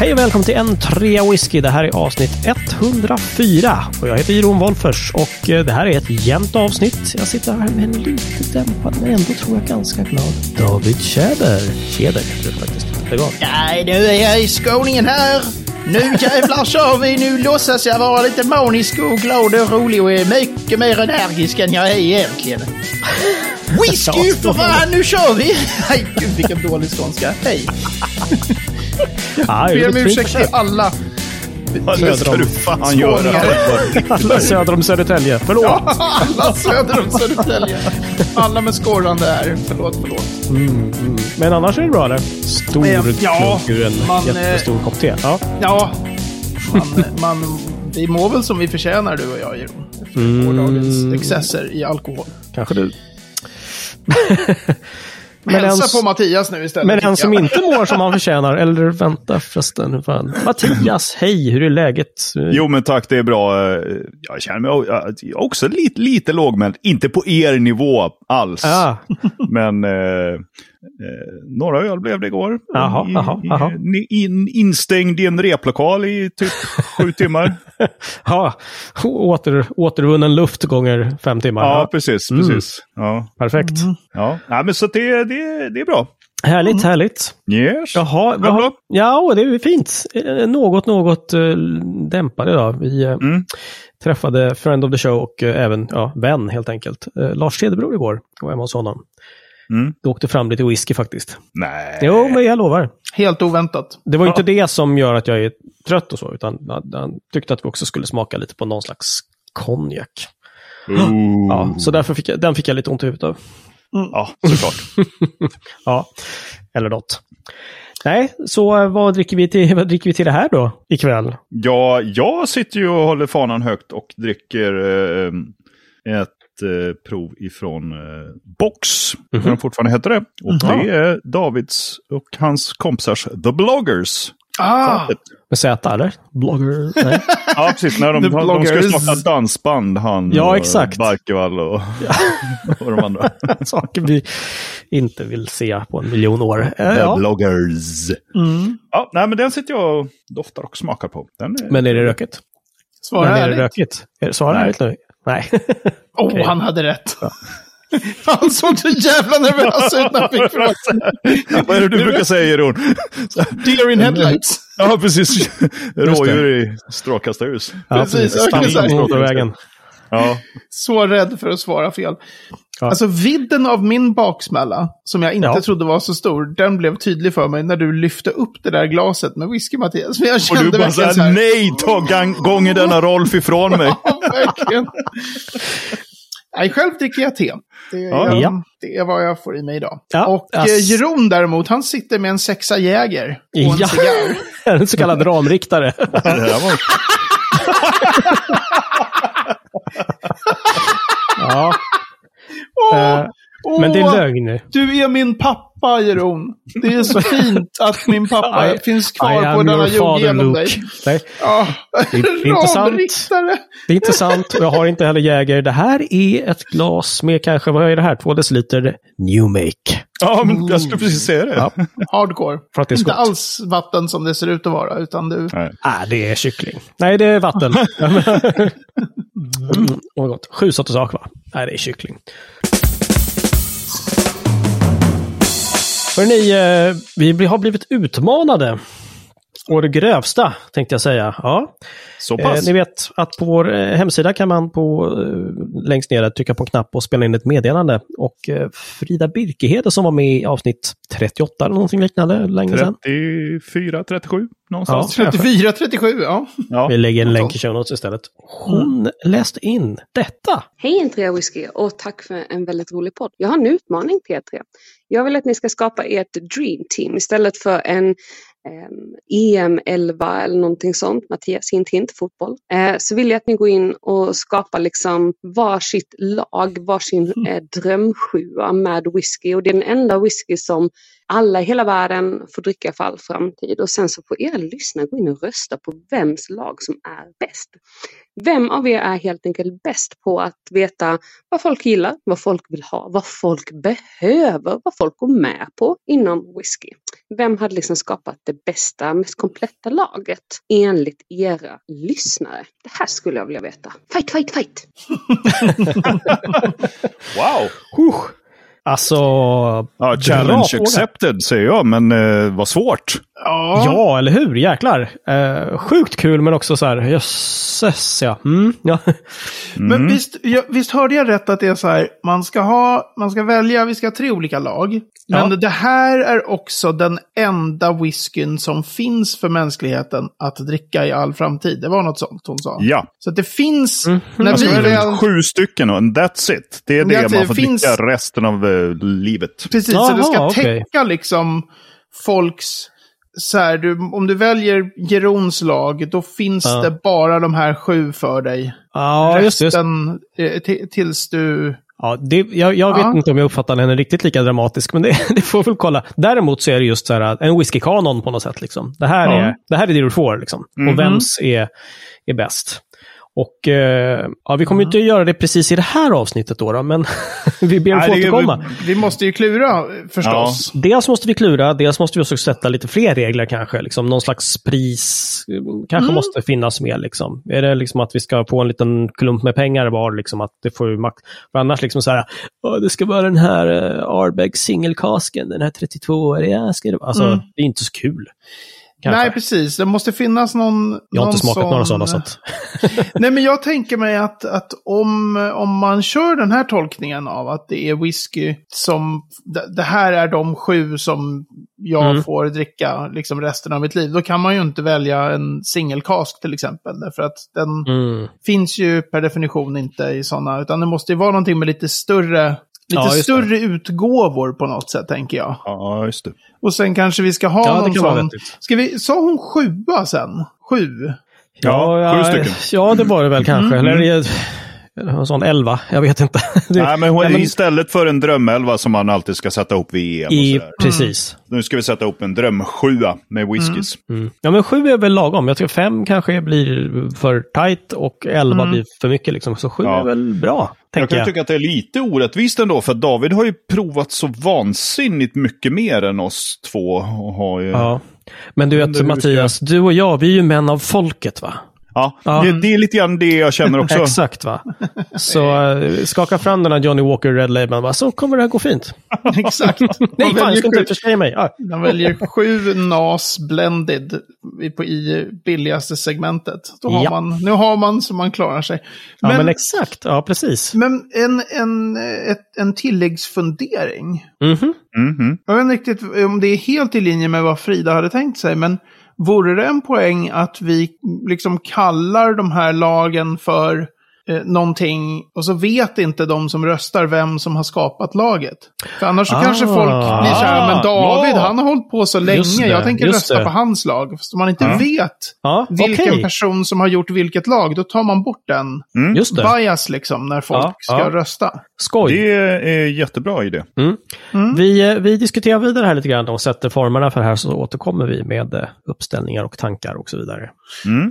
Hej och välkommen till en trea whisky. Det här är avsnitt 104 och jag heter Jeroen Wolffers och eh, det här är ett jämnt avsnitt. Jag sitter här med en lite dämpad men ändå tror jag ganska glad David Tjäder. Tjäder heter det faktiskt. Lägg av. Nej, nu är jag i skåningen här. Nu jävlar kör vi. Nu låtsas jag vara lite manisk och glad och rolig och är mycket mer energisk än jag är egentligen. Whisky för fan, nu kör vi! Nej, gud vilken dålig skånska. Hej! Ah, Ber om ursäkt till alla. Det ska du fan göra. alla söder om Södertälje. Förlåt. Alla söder om Södertälje. Alla med skorrande är. Förlåt, förlåt. Men annars är det bra eller? Stor Eh, ja, klunk ur en man, eh, jättestor kopp te. Ja. Ja, man, man, vi mår väl som vi förtjänar du och jag, Jeroen. Efter gårdagens excesser i alkohol. Kanske du. Men Hälsa ens- på Mattias nu istället. Men tycker den som jag. inte mår som han förtjänar, eller vänta förresten, hur fan. Mattias, hej, hur är läget? Jo men tack, det är bra. Eh, Jag känner mig o- jag- jag är också lite, lite lågmäld. Inte på er nivå alls. Ja, Men eh, eh, några öl blev det igår. Jaha, I- jaha, i- jaha. ni- in, instängd i en replokal i typ sju timmar. ja. Åter, återvunnen luft gånger fem timmar. Ja, Mm. Ja, precis. Mm. precis. Ja, perfekt. ja. ja men så det, det, det är bra. Härligt, Mm. härligt. Yes. Jaha, vad Själv har... då? Ja, det är fint. Eh, Något, något eh, dämpade idag. Vi eh, Mm. träffade friend of the show och eh, även ja, vän helt enkelt. Eh, Lars Cederbro igår var hemma hos honom. Mm. Eh. Det åkte fram lite whisky faktiskt. Nej. Jo, men jag lovar. Helt oväntat. Det var ju inte det som gör att jag är trött och så, utan han- han tyckte att vi också skulle smaka lite på någon slags konjak. Ooh. Ja, så därför fick jag, den fick jag lite ont i huvudet av. ja, såklart. Ja, eller något. Nej, så eh, vad dricker vi till, vad dricker vi till det här då ikväll? Ja, jag sitter ju och håller fanan högt och dricker eh, ett eh, prov ifrån eh, Box, Mhm. som den fortfarande heter det. Och Mhm. det är Davids och hans kompisars The Bloggers. Ah, Med Z eller? Blogger? Nej. Ja, precis. När de, The de ska Bloggers. smaka dansband, han Ja, och exakt. Barkevall och, och de andra. Saker vi inte vill se på en miljon år. Eh, The Ja. Mm. Bloggers. Ja, nej, men den sitter jag och doftar och smakar på. Den är... Men är det rökigt? svara Men är det ärligt. rökigt? Är det svara Nej. ärligt nu? Nej. Åh, Okej. han hade rätt. Han såg så jävla nervös ut när han fick frågan. Vad är det du brukar säga, Jeroen? Deer in headlights. Ja, precis. det. Rådjur i strålkastarljus. Ja, Precis, jag kan Stanna säga- på motorvägen. Ja. Så rädd för att svara fel. Ja. Alltså vidden av min baksmälla, som jag inte Ja. trodde var så stor, den blev tydlig för mig när du lyfte upp det där glaset med whisky, Mattias. Men jag Och du kände bara verkligen så såhär, här, nej, ta gang- gången denna Rolf ifrån mig. Ja, verkligen. Nej, själv dricker jag te. Det är, ehm, Ja. Ja. det är vad jag får i mig idag. Ja, och ass- eh, Jeroen däremot, han sitter med en sexa Jäger och en Ja. cigarr. En så kallad ramriktare. Det här var- Ja, Åh, eh, men det åh, är lögn. Du är min pappa, Jeroen. Det är så fint att min pappa I- finns I kvar på am denna your jord father, genom Luke. dig. Nej, Ja, Det är intressant. ramriktare. det är inte sant och jag har inte heller Jäger. Det här är ett glas med kanske, vad är det här, två deciliter New Make. Ja, men jag skulle precis säga det. Ja. Hardcore. För att det är Inte skott. alls vatten som det ser ut att vara, utan du... Nej. Nej, det är kyckling. Nej, det är vatten. Mm, Vad gott. Sju sorters sak, va? Nej, det är kyckling. Hörrni, eh, vi bli- har blivit utmanade. Å det grövsta, tänkte jag säga. Ja. Så Eh, pass. ni vet att på vår eh, hemsida kan man på, eh, längst ner där trycka på en knapp och spela in ett meddelande. Och eh, Frida Birkehede som var med i avsnitt 38 eller någonting liknande länge sedan. 34, 37 någonstans. 34, 37, ja. Ja. Vi lägger en länk i show notes istället. Hon läste in detta. Hej Entrea Whisky och tack för en väldigt rolig podd. Jag har en utmaning till er tre. Jag vill att ni ska skapa ert dream E team istället för en em, EM11 eller någonting sånt, Mattias hint hint. inte fotboll, eh, så vill jag att ni går in och skapar liksom varsitt lag, varsin eh, drömsjua med whisky. Och det är den enda whisky som alla i hela världen får dricka för all framtid. Och sen så får er lyssnare gå in och rösta på vems lag som är bäst. Vem av er är helt enkelt bäst på att veta vad folk gillar, vad folk vill ha, vad folk behöver, vad folk går med på inom whisky? Vem hade liksom skapat det bästa, mest kompletta laget enligt era lyssnare? Det här skulle jag vilja veta. Fight, fight, fight! Wow! Huh. Alltså, Ja, challenge fråga. accepted säger jag, men eh, vad svårt. Ja. ja eller hur? Jäklar. Eh, sjukt kul men också så här, jösses ja. Mm, ja. Men Mm. visst, jag, visst hörde jag rätt att det är så här, man ska, ha, man ska välja, vi ska ha tre olika lag. Men Ja. det här är också den enda whiskyn som finns för mänskligheten att dricka i all framtid. Det var något sånt hon sa. Ja, Så att det finns, Mhm. när alltså, vi det är väl... sju stycken och and that's it. Det är det That's man it. får Finns- dricka resten av eh, livet. Precis, så det ska Jaha, okej. täcka liksom folks... Så här, du, om du väljer Jerons lag, då finns Ja. det bara de här sju för dig. Ja, just det. just det. Resten eh, ti- tills du... Ja, det, jag, jag vet Ja. inte om jag uppfattar henne riktigt lika dramatisk, men det, det får vi väl kolla. Däremot så är det just så här, att en whiskykanon på något sätt. Liksom. Det, här Ja. Mhm. är, det här är det du får, liksom. och vems är, är bäst. Och eh, ja, vi kommer ju inte göra det precis i det här avsnittet då, då men vi ber att få Nej, det är- återkomma. Vi måste ju klura eh, förstås. Dels måste vi klura, dels måste vi också sätta lite fler regler kanske. Liksom, någon slags pris eh, kanske Mm. måste finnas med. Liksom. Är det liksom att vi ska få en liten klump med pengar var? Liksom, att det får ju max... För annars liksom så här, "Åh, det ska vara den här uh, Arbeg singelkasken, den här 32-åriga. Ska det... vara." alltså, Mm. det är inte så kul. Kanske. Nej, precis. Det måste finnas någon... jag har inte någon smakat sån- några sådana. Så att... Nej, men jag tänker mig att, att om, om man kör den här tolkningen av att det är whisky som, det- det här är de sju som jag Mm. får dricka liksom resten av mitt liv, då kan man ju inte välja en singelkask till exempel. För att den mm. finns ju per definition inte i sådana, utan det måste ju vara någonting med lite större, lite Ja, just det. större utgåvor på något sätt tänker jag. Ja, just det. Och sen kanske vi ska ha Ja, det någon kan vara sån... vettigt. Ska vi, sa hon sjua sen? Sju? Ja, sju stycken. Mm. Ja, det var det väl kanske. Eller eh, en sån elva, jag vet inte. Det- Nej, men hon, Ja, men- istället för en drömelva som man alltid ska sätta ihop vid EM I, och sådär. precis. Nu ska vi sätta ihop en drömsjua med whiskys. Mm. Ja, men sju är väl lagom. Jag tycker fem kanske blir för tajt och elva blir för mycket. Liksom. Så sju Ja. är väl bra, Jag tänker kan jag. tycka att det är lite orättvist ändå, för David har ju provat så vansinnigt mycket mer än oss två. Och har ju... Ja. Men du vet, hur Mattias, du och jag, vi är ju män av folket, va? Ja, Ja. Det, det är lite grann det jag känner också. Exakt, va? Så eh, skaka fram den här Johnny Walker Red Label, va? så kommer det här gå fint. Exakt. Nej, Man fan, jag väljer ska sju. inte försäga mig. Ja. De väljer sju NAS blended i- på i billigaste segmentet. Då har Ja. man, nu har man så man klarar sig. Ja, men, Men, men, exakt. Ja, precis. en, en, ett, en tilläggsfundering. Mhm. Mhm. Jag vet inte riktigt om det är helt i linje med vad Frida hade tänkt sig, men vore det en poäng att vi liksom kallar de här lagen för eh, någonting och så vet inte de som röstar vem som har skapat laget. För annars så Ah. kanske folk blir så här, men David Ja. han har hållit på så länge, Just det, jag tänker just rösta det. på hans lag. Fast om man inte Ja. vet Ja, vilken okej. person som har gjort vilket lag, då tar man bort den Just det. bias liksom när folk Ja, ska ja. rösta. Skoj. Det är jättebra idé. Mm. Vi, eh, vi diskuterar vidare här lite grann och sätter formerna för det här så återkommer vi med eh, uppställningar och tankar och så vidare.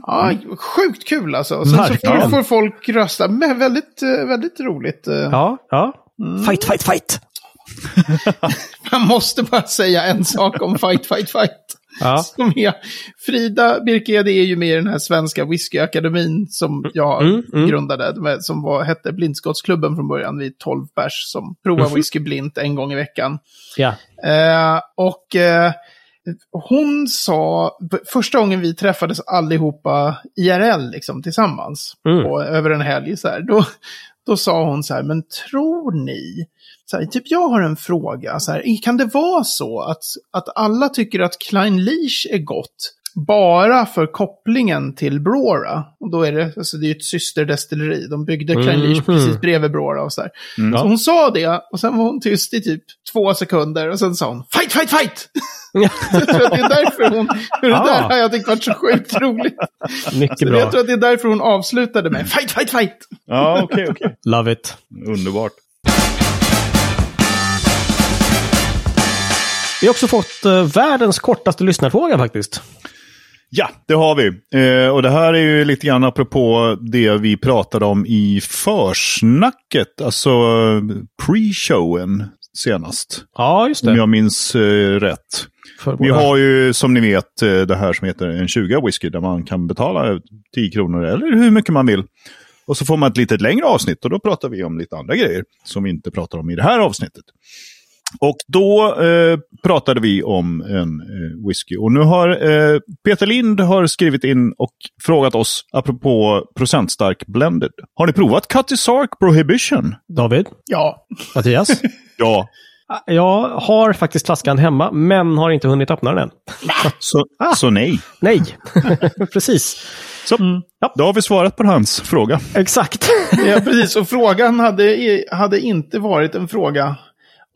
Ja, sjukt kul alltså. Sen så Mm. Verkligen. får, får folk rösta. Men väldigt, eh, väldigt roligt. eh. Ja, ja. Mm. Fight, fight, fight! Man måste bara säga en sak om Fight, Fight, Fight. Ja. Som jag, Frida Birkede är ju med i den här svenska whiskyakademin som jag Mm, mm. grundade. med- Som var, hette Blindskottsklubben från början. Vi är 12 pers som provar Mhm. whisky blint en gång i veckan. ja. Eh, och eh, hon sa, b- första gången vi träffades allihopa IRL liksom, tillsammans Mm. på, över en helg, så här, då, då sa hon så här, men tror ni, så här, typ jag har en fråga, så här, kan det vara så att, att alla tycker att Klein Leash är gott? bara för kopplingen till Brora. Och då är det, alltså det är ju ett systerdestilleri. De byggde Cranleach Mhm. precis bredvid Brora och sådär. Mm. Så hon sa det och sen var hon tyst i typ två sekunder och sen sa hon fight, fight, fight! jag tror att det är därför hon, för det där Ah. har jag tyckt varit så sjukt roligt. Mycket Jag bra. tror att det är därför hon avslutade med fight, fight, fight! Ja, okej, okej. Love it. Underbart. Vi har också fått eh, världens kortaste lyssnarfråga faktiskt. Ja, det har vi. Eh, och det här är ju lite grann apropå det vi pratade om i försnacket, alltså eh, pre-showen senast. Ja, just Om det. jag minns eh, rätt. För Mm, Vi våra- har ju som ni vet eh, det här som heter en 20 whisky där man kan betala 10 kronor eller hur mycket man vill. Och så får man ett lite längre avsnitt och då pratar vi om lite andra grejer som vi inte pratar om i det här avsnittet. Och då eh, pratade vi om en eh, whisky. Och nu har eh, Peter Lind har skrivit in och frågat oss apropå procentstark blended. Har ni provat Cutty Sark Prohibition? David? Ja, Mattias? Ja. jag har faktiskt flaskan hemma, men har inte hunnit öppna den än. Så, så nej. Nej, precis. Så, Då har vi svarat på hans fråga. Exakt. ja precis. Och frågan hade, hade inte varit en fråga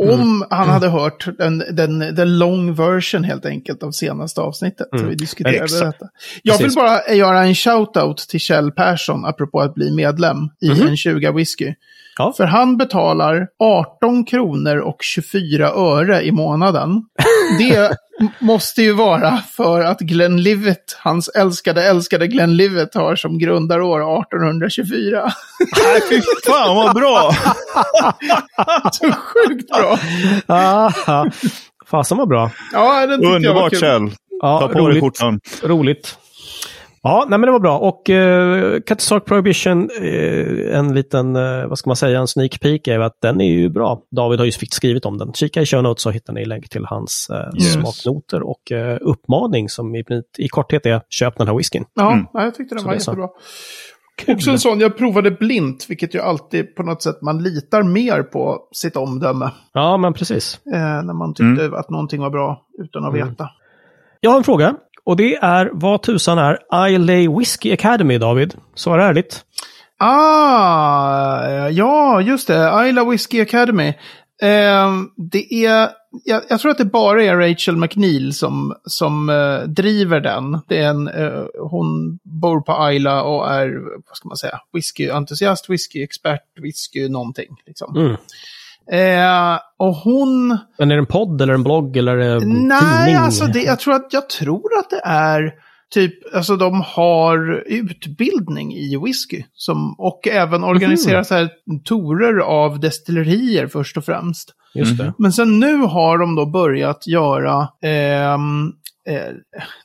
om Mm. han hade hört den, den, den long version helt enkelt av senaste avsnittet. Så vi diskuterade Mm. Exakt. detta. Jag Precis. vill bara göra en shout-out till Kjell Persson apropå att bli medlem i en 20 whisky. Mhm. Ja. För han betalar 18 kronor och 24 öre i månaden. Det m- måste ju vara för att Glenn Livett, hans älskade, älskade Glenn Livett har som grundarår 1824. Nej, fy fan vad bra! Så sjukt bra! Aha. Fasen var bra. Ja, den tyckte jag var Underbart kul. Kjell. Ja, Ta på dig roligt. skjortan. roligt. Ja, nej, men det var bra. Och uh, Catasark Prohibition, eh, en liten, eh, vad ska man säga, en sneak peek är ju att den är ju bra. David har ju skrivit om den. Kika i show notes så hittar ni länk till hans eh, Yes. smaknoter och eh, uppmaning som i, i korthet är köp den här whiskyn. Ja, Mm. ja, jag tyckte den Så var det är så. jättebra. Också en sån jag provade blint, vilket ju alltid på något sätt man litar mer på sitt omdöme. Ja, men precis. Eh, när man tyckte att någonting var bra utan att Mm. veta. Jag har en fråga. Och det är, vad tusan är ILA Whiskey Academy, David? Svara ärligt. Ah, eh, ja, just det. Isla Whiskey Academy. Eh, det är, jag, jag tror att det bara är Rachel McNeil som, som eh, driver den. Det är en, eh, hon bor på Isla och är, vad ska man säga, whiskyentusiast, whiskyexpert, whisky någonting. Liksom. Mm. Eh, och hon... Men är det en podd eller en blogg eller en Nej, tidning? alltså det, jag, tror att, jag tror att det är typ, alltså de har utbildning i whisky. Som, och även organiserar Mm. så här torer av destillerier först och främst. Just det. Men sen nu har de då börjat göra, ehm, eh,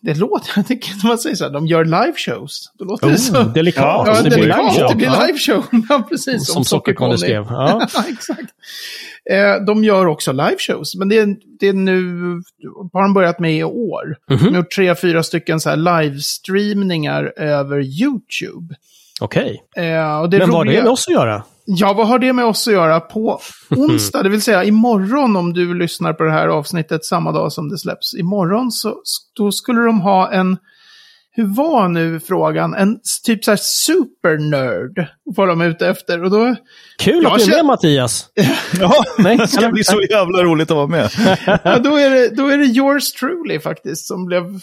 det låter, jag tycker inte man säger så här, de gör live shows. Då låter det så. Oh, delikat. Ja, Mm. Ja, det blir live delikat, show. det blir Ja. live show. Ja, precis. Som Sockerkonny skrev. Ja. Ja, exakt. Eh, de gör också liveshows, men det är, det är nu, har de börjat med i år. Mhm. De har gjort tre, fyra stycken så här livestreamningar över YouTube. Okej. Eh, och det Men vad har det roliga- med oss att göra? Ja, vad har det med oss att göra? På onsdag, det vill säga imorgon om du lyssnar på det här avsnittet samma dag som det släpps. Imorgon så då skulle de ha en, hur var nu frågan, en s- typ så här supernerd var de ute efter. Och då, Kul Jag att du är känner- med Mattias! Ja, Nej, det ska bli så jävla roligt att vara med. ja, då, är det, då är det yours truly faktiskt som blev,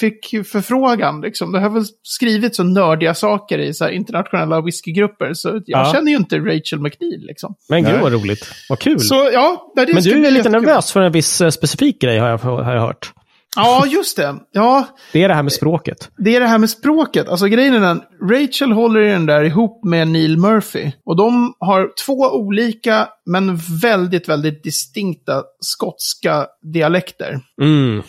fick förfrågan. Liksom. Det har väl skrivit så nördiga saker i så här internationella whiskygrupper. Så jag Ja. känner ju inte Rachel McNeil liksom. Men gud Nej. vad roligt. Vad kul! Så ja, det Mm. Men ska du är bli lite jättekul. nervös för en viss eh, specifik grej har jag, har jag hört. Ja, just det. Ja, Det är det här med språket. Det är det här med språket. Alltså grejen är den, Rachel håller i den där ihop med Neil Murphy. Och de har två olika, men väldigt, väldigt distinkta skotska dialekter. Mm.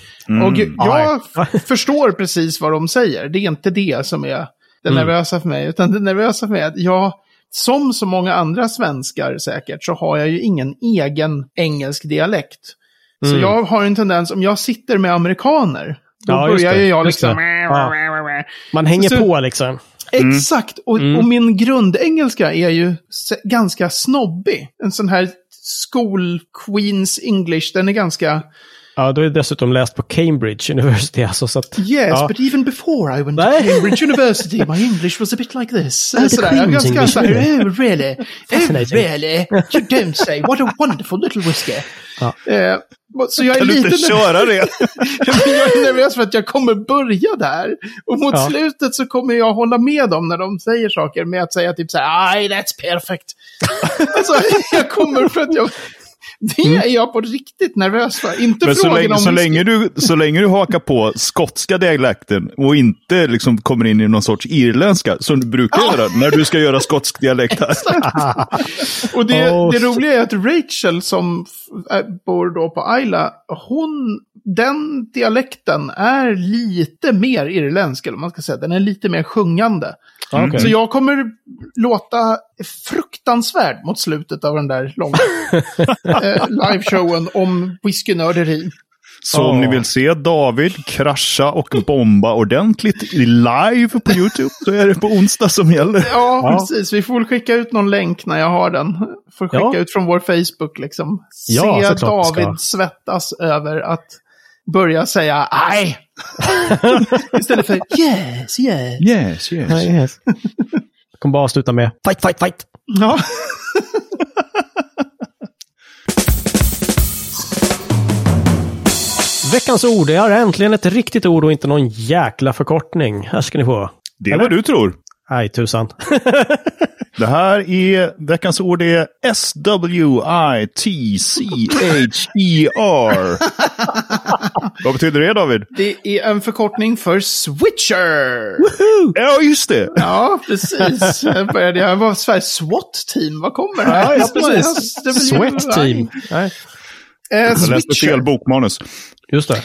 Och jag Ja. f- förstår precis vad de säger. Det är inte det som är det Mm. nervösa för mig. Utan det nervösa för mig är att jag, som så många andra svenskar säkert, så har jag ju ingen egen engelsk dialekt. Så Mm. jag har en tendens, om jag sitter med amerikaner, då Ja, just börjar det. ju jag Just liksom... det. Ja. Man hänger Så- på liksom. Exakt, och, och min grundengelska är ju s- ganska snobbig. En sån här school queens english, den är ganska... Ja, du har ju dessutom läst på Cambridge University alltså, så att... Yes, Mm. ja. but even before I went Nej. to Cambridge University, my English was a bit like this. Oh, the Sådär, Queen's ganska English, såhär, really? oh really? Oh Fascinating. really? You don't say, what a wonderful little whiskey. Ja. Eh, så jag är Kan du lite inte köra det? jag är nervös för att jag kommer börja där. Och mot Ja. slutet så kommer jag hålla med dem när de säger saker med att säga typ så här, aj, that's perfect. alltså, jag kommer för att jag... Det är jag på riktigt nervös för. Inte Mm. Men så frågan länge, om... så, länge du, så länge du hakar på skotska dialekten och inte liksom kommer in i någon sorts irländska, som du brukar göra när du ska göra skotsk dialekt här. Och det, Oh, det shit. roliga är att Rachel som f- äh, bor då på Isla, hon, den dialekten är lite mer irländsk, eller vad man ska säga. Den är lite mer sjungande. Ja, okej. Så Alltså, jag kommer låta fruktansvärd mot slutet av den där långa eh, liveshowen om whiskynörderi. Så om ni vill se David krascha och bomba ordentligt live på YouTube så är det på onsdag som gäller. Ja, Ja. precis. Vi får väl skicka ut någon länk när jag har den. Får skicka Ja. ut från vår Facebook liksom. Ja, Se såklart vi ska. David svettas över att börja säga nej. Istället för yes, yes. Yes, Ja, yes. yes. Jag kommer bara avsluta med fight, fight, fight. Ja. Veckans ord är äntligen ett riktigt ord och inte någon jäkla förkortning. Här ska ni få. Det är vad du tror. Nej, tusan. Det här är, veckans ord är S-W-I-T-C-H-E-R. E Vad betyder det David? Det är en förkortning för switcher. Ja, just det. Ja, precis. Jag började, jag var Sveriges SWAT-team. Vad kommer det här? Ja, precis. Det blir- Sweat team. Nej, Eh, Jag läste switcher. fel bokmanus. just det.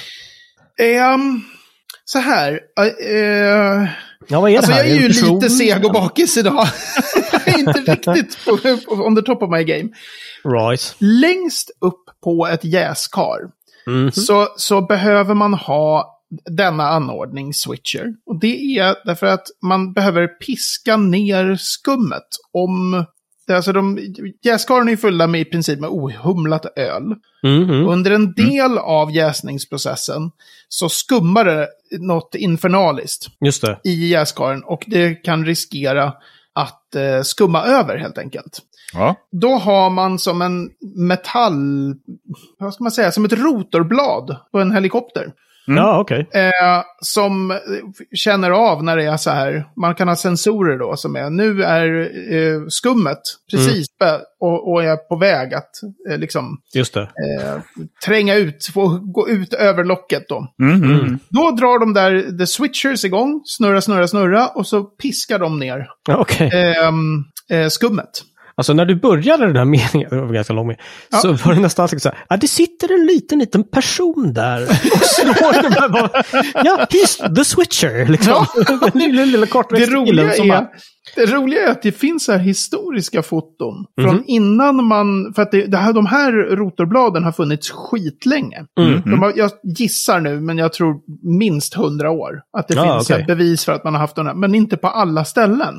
Ehm, så här. eh, eh, Ja, vad är alltså det här? jag är ju En person? lite seg och bakis idag. jag är inte riktigt på, på, on the top of my game. Right. Längst upp på ett jäskar Mm, så, så behöver man ha denna anordning, switcher. Och det är därför att man behöver piska ner skummet om... det är Alltså de, jäskaren är ju fulla med i princip med ohumlat öl. Mm, mm. Under en del av jäsningsprocessen så skummar det något infernaliskt Just det. i jäskaren och det kan riskera att eh, skumma över helt enkelt. Ja. Då har man som en metall, vad ska man säga, som ett rotorblad på en helikopter. Ja, okej. Eh, som eh, känner av när det är så här. Man kan ha sensorer då som är, nu är eh, skummet precis på- och, och är på väg att eh, liksom Just det. eh, tränga ut, få gå ut över locket då. Mm, mm. Då drar de där the switchers igång, snurra, snurra, snurra och så piskar de ner Ja, Okej. ehm, eh, skummet. Alltså när du började den här meningen, det var ganska lång mening, Ja. så var det nästan liksom så här, ja det sitter en liten, liten person där och slår den här bara, ja, he's the switcher, liksom. Den lilla, lilla Det kortväxta killen roliga, som bara, är, det roliga är att det finns så här historiska foton från innan man, för att det, det här, de här rotorbladen har funnits skitlänge. Mm. De har, jag gissar nu, men jag tror minst hundra år. Att det Ja, finns så här Ah, okej. bevis för att man har haft den här, men inte på alla ställen.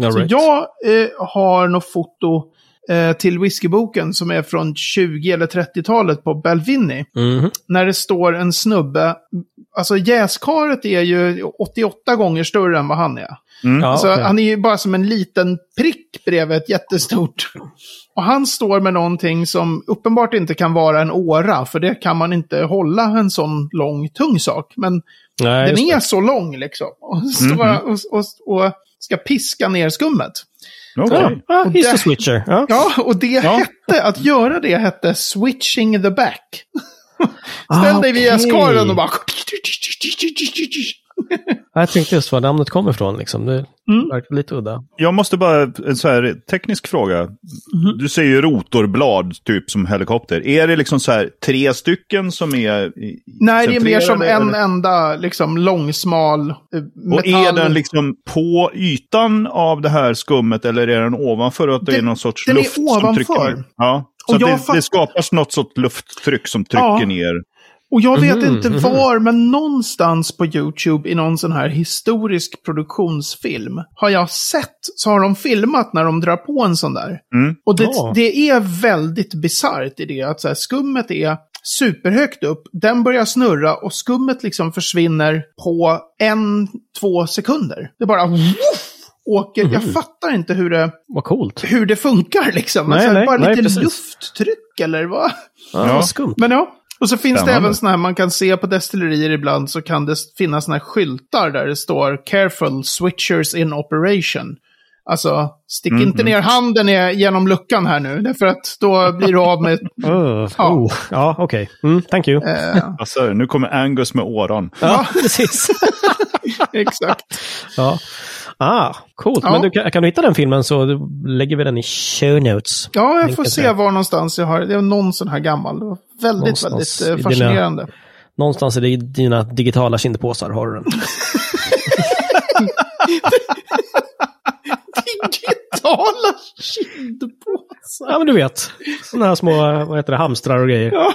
Ja, Så right. jag eh, har något foto eh, till whiskyboken som är från 20 eller 30-talet på Belvini. Mhm. När det står en snubbe, alltså jäskaret är ju 88 gånger större än vad han är. Ja, Alltså, okej. Han är ju bara som en liten prick bredvid ett jättestort. Och han står med någonting som uppenbart inte kan vara en åra, för det kan man inte hålla en sån lång, tung sak. Men Nej, den just är det. så lång liksom. Och, står och, och, och ska piska ner skummet. Mm. Okej. Ja, Och he's där- the switcher. Ja. Ja, och det hette, att göra det hette switching the back. Ställ dig vid Ah, okej. jäskaren och bara... Ja, Jag tänkte just var namnet kommer ifrån, liksom. Det Mm. verkar lite udda. Jag måste bara, en så här teknisk fråga. Mm-hmm. Du säger ju rotorblad, typ som helikopter. Är det liksom så här tre stycken som är... i- Nej, det är mer som centrerade, en eller? enda liksom långsmal eh, Och är metall- den liksom på ytan av det här skummet eller är den ovanför? Och att det, Den- är någon sorts den är luft som trycker ovanför. ner? Ja. Och Så att jag det, fatt- det skapas något sorts lufttryck som trycker Ja. ner. Och jag vet Mhm, inte mhm. var, men någonstans på YouTube i någon sån här historisk produktionsfilm har jag sett, så har de filmat när de drar på en sån där. Mm. Och det, Ja. det är väldigt bisarrt i det, att så här, skummet är superhögt upp. Den börjar snurra och skummet liksom försvinner på en, två sekunder. Det bara woof, åker. Mm. Jag fattar inte hur det, Vad coolt. hur det funkar liksom. Nej, alltså, nej, bara nej, lite precis. lufttryck eller vad? Ja. Vad skumt. Men ja. Och så finns det Spännande. även sådana här, man kan se på destillerier ibland så kan det finnas sådana här skyltar där det står careful switchers in operation. Alltså, stick inte ner handen i- genom luckan här nu, därför att då blir du av med... Öh, Mm. Ja. oh. Ja, okej. Mm, thank you. Eh, Alltså, nu kommer Angus med åran. Ja, precis. exakt. Ja. Ah, coolt. Ja. Men du, kan kan du hitta den filmen så lägger vi den i show notes. Ja, jag Tänker får se det. var någonstans jag har... Det är någon sån här gammal. Det var väldigt, Någonstans i väldigt dina- eh, fascinerande. Någonstans i dina digitala kindpåsar har du den. Digitala kindpåsar! Ja, men du vet. Sådana här små, vad heter det, hamstrar och grejer. Ja.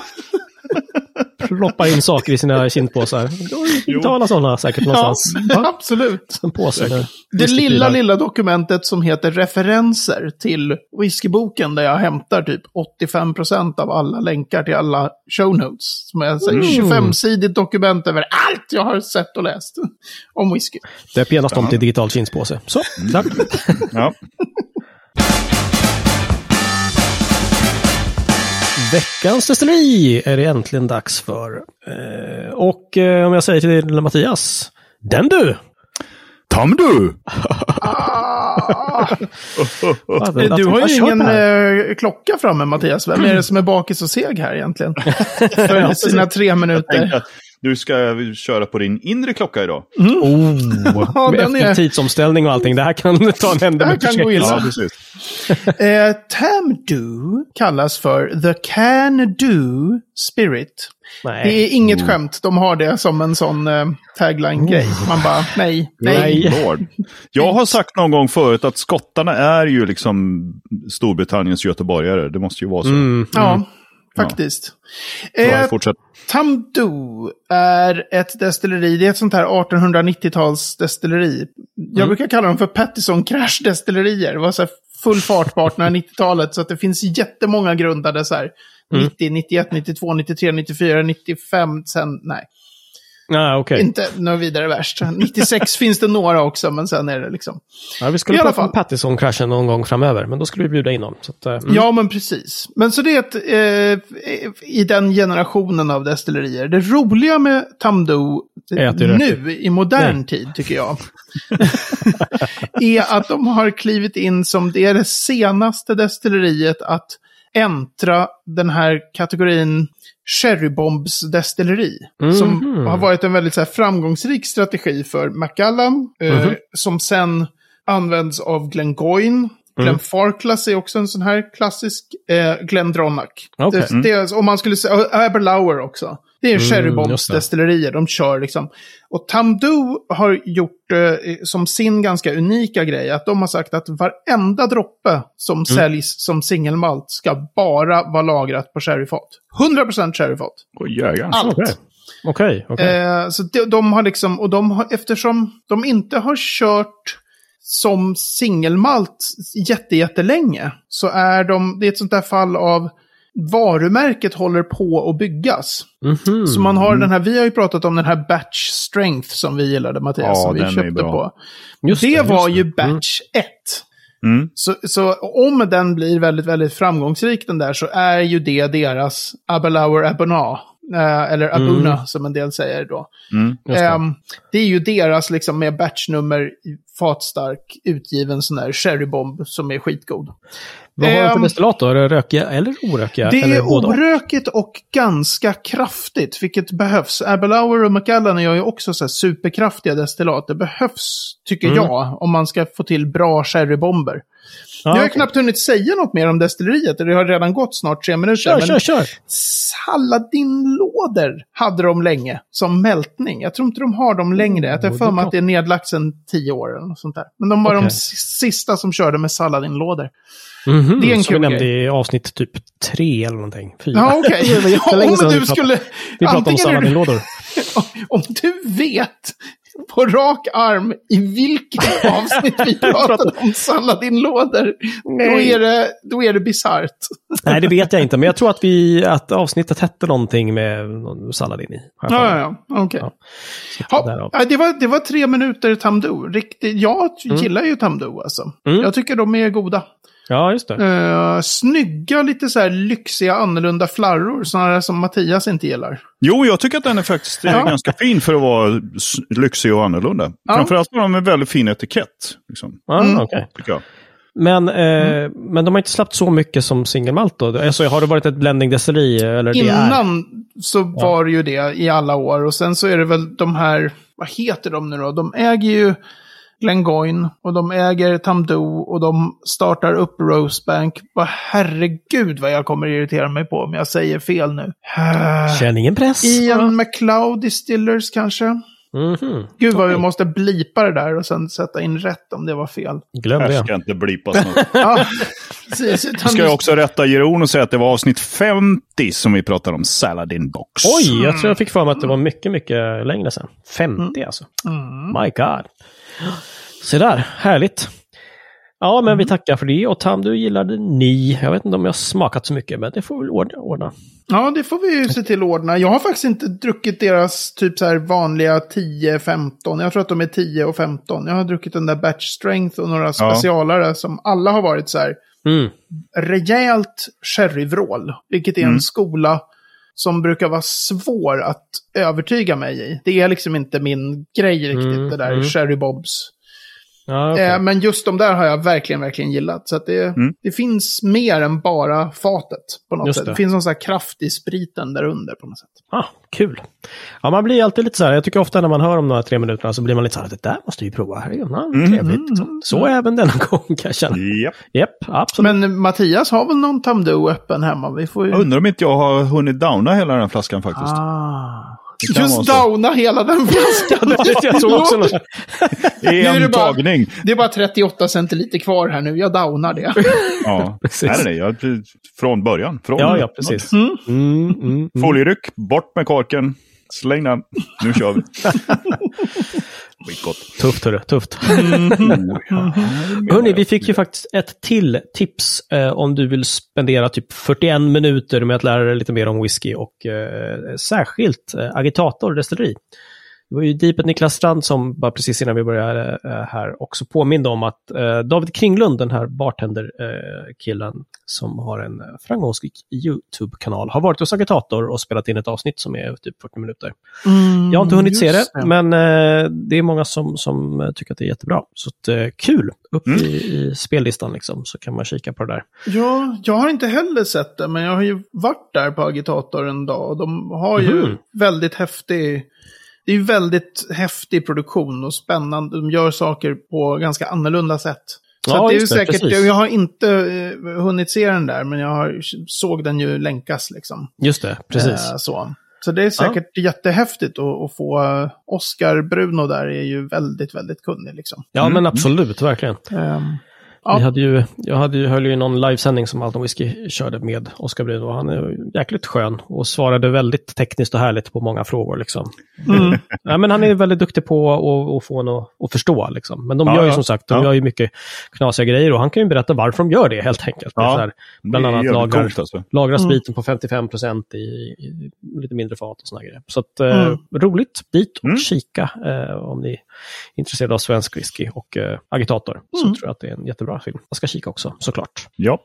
Proppar in saker i sina kindpåsar. Du har ju digitala sådana säkert Ja, någonstans. absolut. En påse där. Det lilla, lilla dokumentet som heter referenser till whiskyboken där jag hämtar typ 85% av alla länkar till alla show notes. Som är ett sånt här 25-sidigt dokument över allt jag har sett och läst om whisky. Döp genast om till digital kindspåse. Så, Mm. tack. Ja. Veckans destilleri är det äntligen dags för. Eh, och eh, om jag säger till Mattias, den du! Tam du! Du har ju ingen eh, klocka framme Mattias. Vem är det som är bakis och seg här egentligen? För sina tre Tänkte minuter. att Du ska köra på din inre klocka idag. Ja, Med den efter är... tidsomställning och allting. Det här kan ta en Det hända här kan gå illa. precis. Eh, Tamdu kallas för The Can Do Spirit. Det Nej. är inget skämt. De har det som en sån eh, tagline-grej. Man bara, nej, nej. Mm. Nej. Lord. Jag har sagt någon gång förut att skottarna är ju liksom Storbritanniens göteborgare. Det måste ju vara så. Mm. Ja, faktiskt. Ja, Mm. Eh, fortsätt. Tamdu är ett destilleri. Det är ett sånt här 1890-tals destilleri. Jag Mm. brukar kalla dem för Pattison Crash destillerier. Det var så här full fart på 1890-talet. Så att det finns jättemånga grundade så här. Mm. 90, 91, 92, 93, 94, 95, sen nej. Nej, Ah, okej. Inte något vidare värst. 96 finns det några också, men sen är det liksom. Ja, vi skulle I alla prata om fall. Pattison-kraschen någon gång framöver, men då skulle vi bjuda in honom. Så att, eh, mm. Ja, men precis. Men så det är ett, eh, i den generationen av destillerier. Det roliga med Tamdo Är att det är nu i modern tid, tycker jag, är att de har klivit in som det är det senaste destilleriet att äntra den här kategorin Cherrybombs destilleri. Som har varit en väldigt så här, framgångsrik strategi för Macallan. Eh, Som sen används av Glengoyne. Glenfarclas är också en sån här klassisk. Eh, Glendronach. Okej. Mm, Det, det är, om man skulle säga, och Aberlour också. Det är Cherrybombs just det. destillerier. De kör liksom. Och Tamdu har gjort eh, som sin ganska unika grej att de har sagt att varenda droppe som Mm. säljs som singelmalt ska bara vara lagrat på sherryfat. 100% sherryfat. Åh, jägar. Allt. Okej. Okej, okej. Eh, så de, de har liksom, och de har, eftersom de inte har kört som singelmalt jätte, jättelänge, så är de, det är ett sånt där fall av varumärket håller på att byggas. Mhm. Så man har den här, vi har ju pratat om den här batch strength som vi gillade Mattias, Ja, som vi den är köpte bra. på. Just det, just var ju Mm. batch 1. Mm. Så, så om den blir väldigt, väldigt framgångsrik den där så är ju det deras Abelauer Abona. Eh, eller Abuna som en del säger då. Mm. Just det. Ehm, det är ju deras liksom med batchnummer fatstark utgiven sån där sherrybomb som är skitgod. Vad har den för ehm, destillat då? Är det rökiga eller orökiga? Det eller är båda? orökigt och ganska kraftigt, vilket behövs. Abelauer och McAllen gör ju också så här superkraftiga destillat. Det behövs, tycker Mm. jag, om man ska få till bra sherrybomber. Ja, jag har Ah, okej. knappt hunnit säga något mer om destilleriet, och det har redan gått snart tre minuter. Kör, men- kör, kör! Saladinlådor hade de länge som mältning. Jag tror inte de har dem längre. Jag har det för mig kan- att det är nedlagt sedan tio år eller något sånt där. Men de var de Okej. s- sista som körde med Saladinlådor. Mhm, Det är Som en vi kul nämnde grej. i avsnitt typ tre eller någonting. Fyra. Ja, okej. var jättelänge Ja, sedan om vi du pratade. skulle... Vi pratade om antingen är du- salladinlådor. Om du vet på rak arm i vilket avsnitt vi pratar om Saladin-lådor. Då är det, då är det bisarrt. Nej, det vet jag inte, men jag tror att, vi, att avsnittet hette någonting med någon Saladin i. Har jag för Ja, mig. ja, ja. Okej. Ja. Så Ja, därav. ja, det, var, det var tre minuter Tamdo. Riktigt, jag gillar ju Tamdo alltså. Mm. Jag tycker de är goda. ja, Mm. just det. Uh, snygga, lite så här lyxiga, annorlunda flarror. Sådana som Mattias inte gillar. Jo, jag tycker att den är faktiskt eh, Ja. ganska fin för att vara s- lyxig och annorlunda. Ja. Framförallt har de en väldigt fin etikett. Liksom, Ah, Mm. okej. tycker jag. men, eh, men de har inte släppt så mycket som singelmalt då? Alltså, har det varit ett blending destilleri? Eller det är? Innan så var det ju det i alla år. Och sen så är det väl de här, vad heter de nu då? De äger ju Glengoyne och de äger Tamdo och de startar upp Rosebank. Vad herregud vad jag kommer irritera mig på om jag säger fel nu. Känn ingen press. Ian McLeod Distillers kanske? Mhm. Gud vad vi måste blipa det där och sen sätta in rätt om det var fel. Glöm Här det. ska inte blipas något. Ja, precis. Utan Ska jag också rätta Jeroen och säga att det var avsnitt 50 som vi pratade om Saladin Box. Oj, jag tror jag fick för mig att det var mycket, mycket längre sedan. 50 alltså. My God. Se där, härligt. Ja, men vi tackar för det. Och Tam, du gillade ni. Jag vet inte om jag har smakat så mycket, men det får vi väl ordna. ordna. Ja, det får vi ju se till att ordna. Jag har faktiskt inte druckit deras typ så här vanliga 10-15. Jag tror att de är 10 och 15. Jag har druckit den där Batch Strength och några specialare som alla har varit så här Mm. rejält sherryvrål. Vilket är Mm. en skola som brukar vara svår att övertyga mig i. Det är liksom inte min grej riktigt, Mm, det där mm. Sherry Bobs. Ja, okej. Mm. Eh, men just de där har jag verkligen, verkligen gillat. Så att det, det finns mer än bara fatet på något Just sätt. det. Det finns någon sån här kraft i spriten där under på något sätt. ah, kul. Ja, man blir alltid lite så här. Jag tycker ofta när man hör om de här tre minuterna så blir man lite så här. Det där måste vi prova. Här är ju ja, trevligt. Liksom. Så även denna gång kan jag känna. Japp. Japp, absolut. Men Mattias har väl någon Tamdo öppen hemma? Vi får ju... Jag undrar om inte jag har hunnit downa hela den här flaskan faktiskt. Ah. Det kan vara Just så. downa hela den flaskan. jag såg också något. I Nu är det en bara- tagning. Det är bara 38 centiliter kvar här nu. Jag downar det. Ja. Precis. Nej, nej, jag, från början. Från Ja, ja, precis. Mm. Mm, mm. Folieryck, bort med korken, släng den. Nu kör vi. Skitgott. Tufft hörru, tufft. Hörni, vi fick ju faktiskt ett till tips eh, om du vill spendera typ 41 minuter med att lära dig lite mer om whisky och eh, särskilt eh, agitator destilleri. Det var ju Deepet Niklas Strand som bara precis innan vi började eh, här också påminde om att eh, David Kringlund, den här bartenderkillen eh, killen som har en eh, framgångsrik YouTube-kanal, har varit hos agitator och spelat in ett avsnitt som är typ 40 minuter. Jag har inte hunnit se det, Mm, Just men eh, det är många som, som eh, tycker att det är jättebra. Så att, eh, kul! Upp Mm. i, i spellistan liksom, så kan man kika på det där. Ja, jag har inte heller sett det, men jag har ju varit där på Agitator en dag. Och de har ju Mhm. väldigt häftig... Det är ju väldigt häftig produktion och spännande. De gör saker på ganska annorlunda sätt. Så Ja, att det är ju just det, säkert, precis. jag har inte eh, hunnit se den där, men jag har, såg den ju länkas liksom. Just det, precis. Eh, så. så det är säkert jättehäftigt att, att få eh, Oscar Bruno där är ju väldigt, väldigt kunnig liksom. ja, men absolut, verkligen. Ehm, Ja. Vi hade ju, jag hade ju, höll ju någon livesändning som Alton Whisky körde med Oskar Brun och han är ju jäkligt skön och svarade väldigt tekniskt och härligt på många frågor. Liksom. mm. Ja, men han är väldigt duktig på att- att få en att, att förstå. Liksom. Men de Ja, gör ju ja. som sagt de Ja. gör ju mycket knasiga grejer och han kan ju berätta varför de gör det helt enkelt. Det är Ja. så här, bland Det är annat jävligt lagar coolt, alltså. lagra spriten på 55 procent i, i lite mindre fat och såna grejer. Så att, eh, Mm. roligt, dit och Mm. kika eh, om ni är intresserade av svensk whisky och eh, agitator. Så tror jag att det är en jättebra film. Jag ska kika också, såklart. Ja.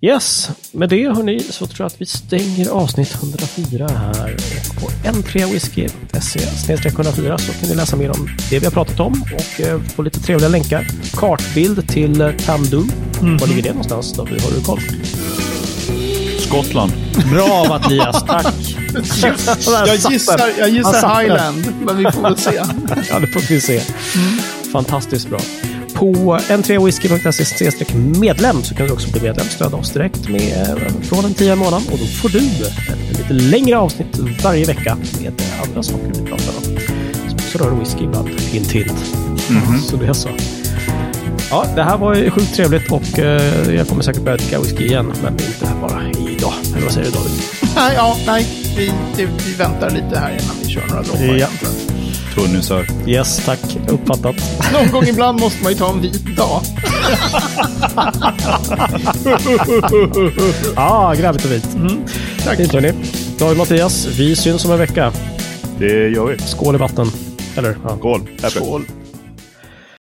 Yes, med det hörni så tror jag att vi stänger avsnitt 104 här. Och På n3whisky.se 104 så kan ni läsa mer om det vi har pratat om och eh, få lite trevliga länkar. Kartbild till eh, Tamdu. Var ligger det någonstans? Då? Har du koll? Skottland. Bra Mattias, tack! Jag gissar, Han jag satt gissar där. Highland, men vi får väl se. Ja, det får vi se. Fantastiskt bra. På n3whisky.se medlem så kan du också bli medlem. Stödja oss direkt med, eh, från en tia i månaden och då får du ett lite längre avsnitt varje vecka med eh, andra saker vi pratar om. Som också rör whisky ibland. Hint, hint. Så det är så. Ja, det här var ju sjukt trevligt och eh, jag kommer säkert börja dricka whisky igen, men inte bara idag. Eller vad säger du David? Nej, ja, nej. Vi, det, vi väntar lite här innan vi kör några droppar. Ja. egentligen. tunnisar. Yes, tack. Uppfattat. Någon gång ibland måste man ju ta en vit dag. Ah, grabbt och vitt. Mm. Tack. Fint hörni. David och Mattias, vi syns om en vecka. Det gör vi. Skål i vatten. Eller? Ja. Skål. Äpple. Skål.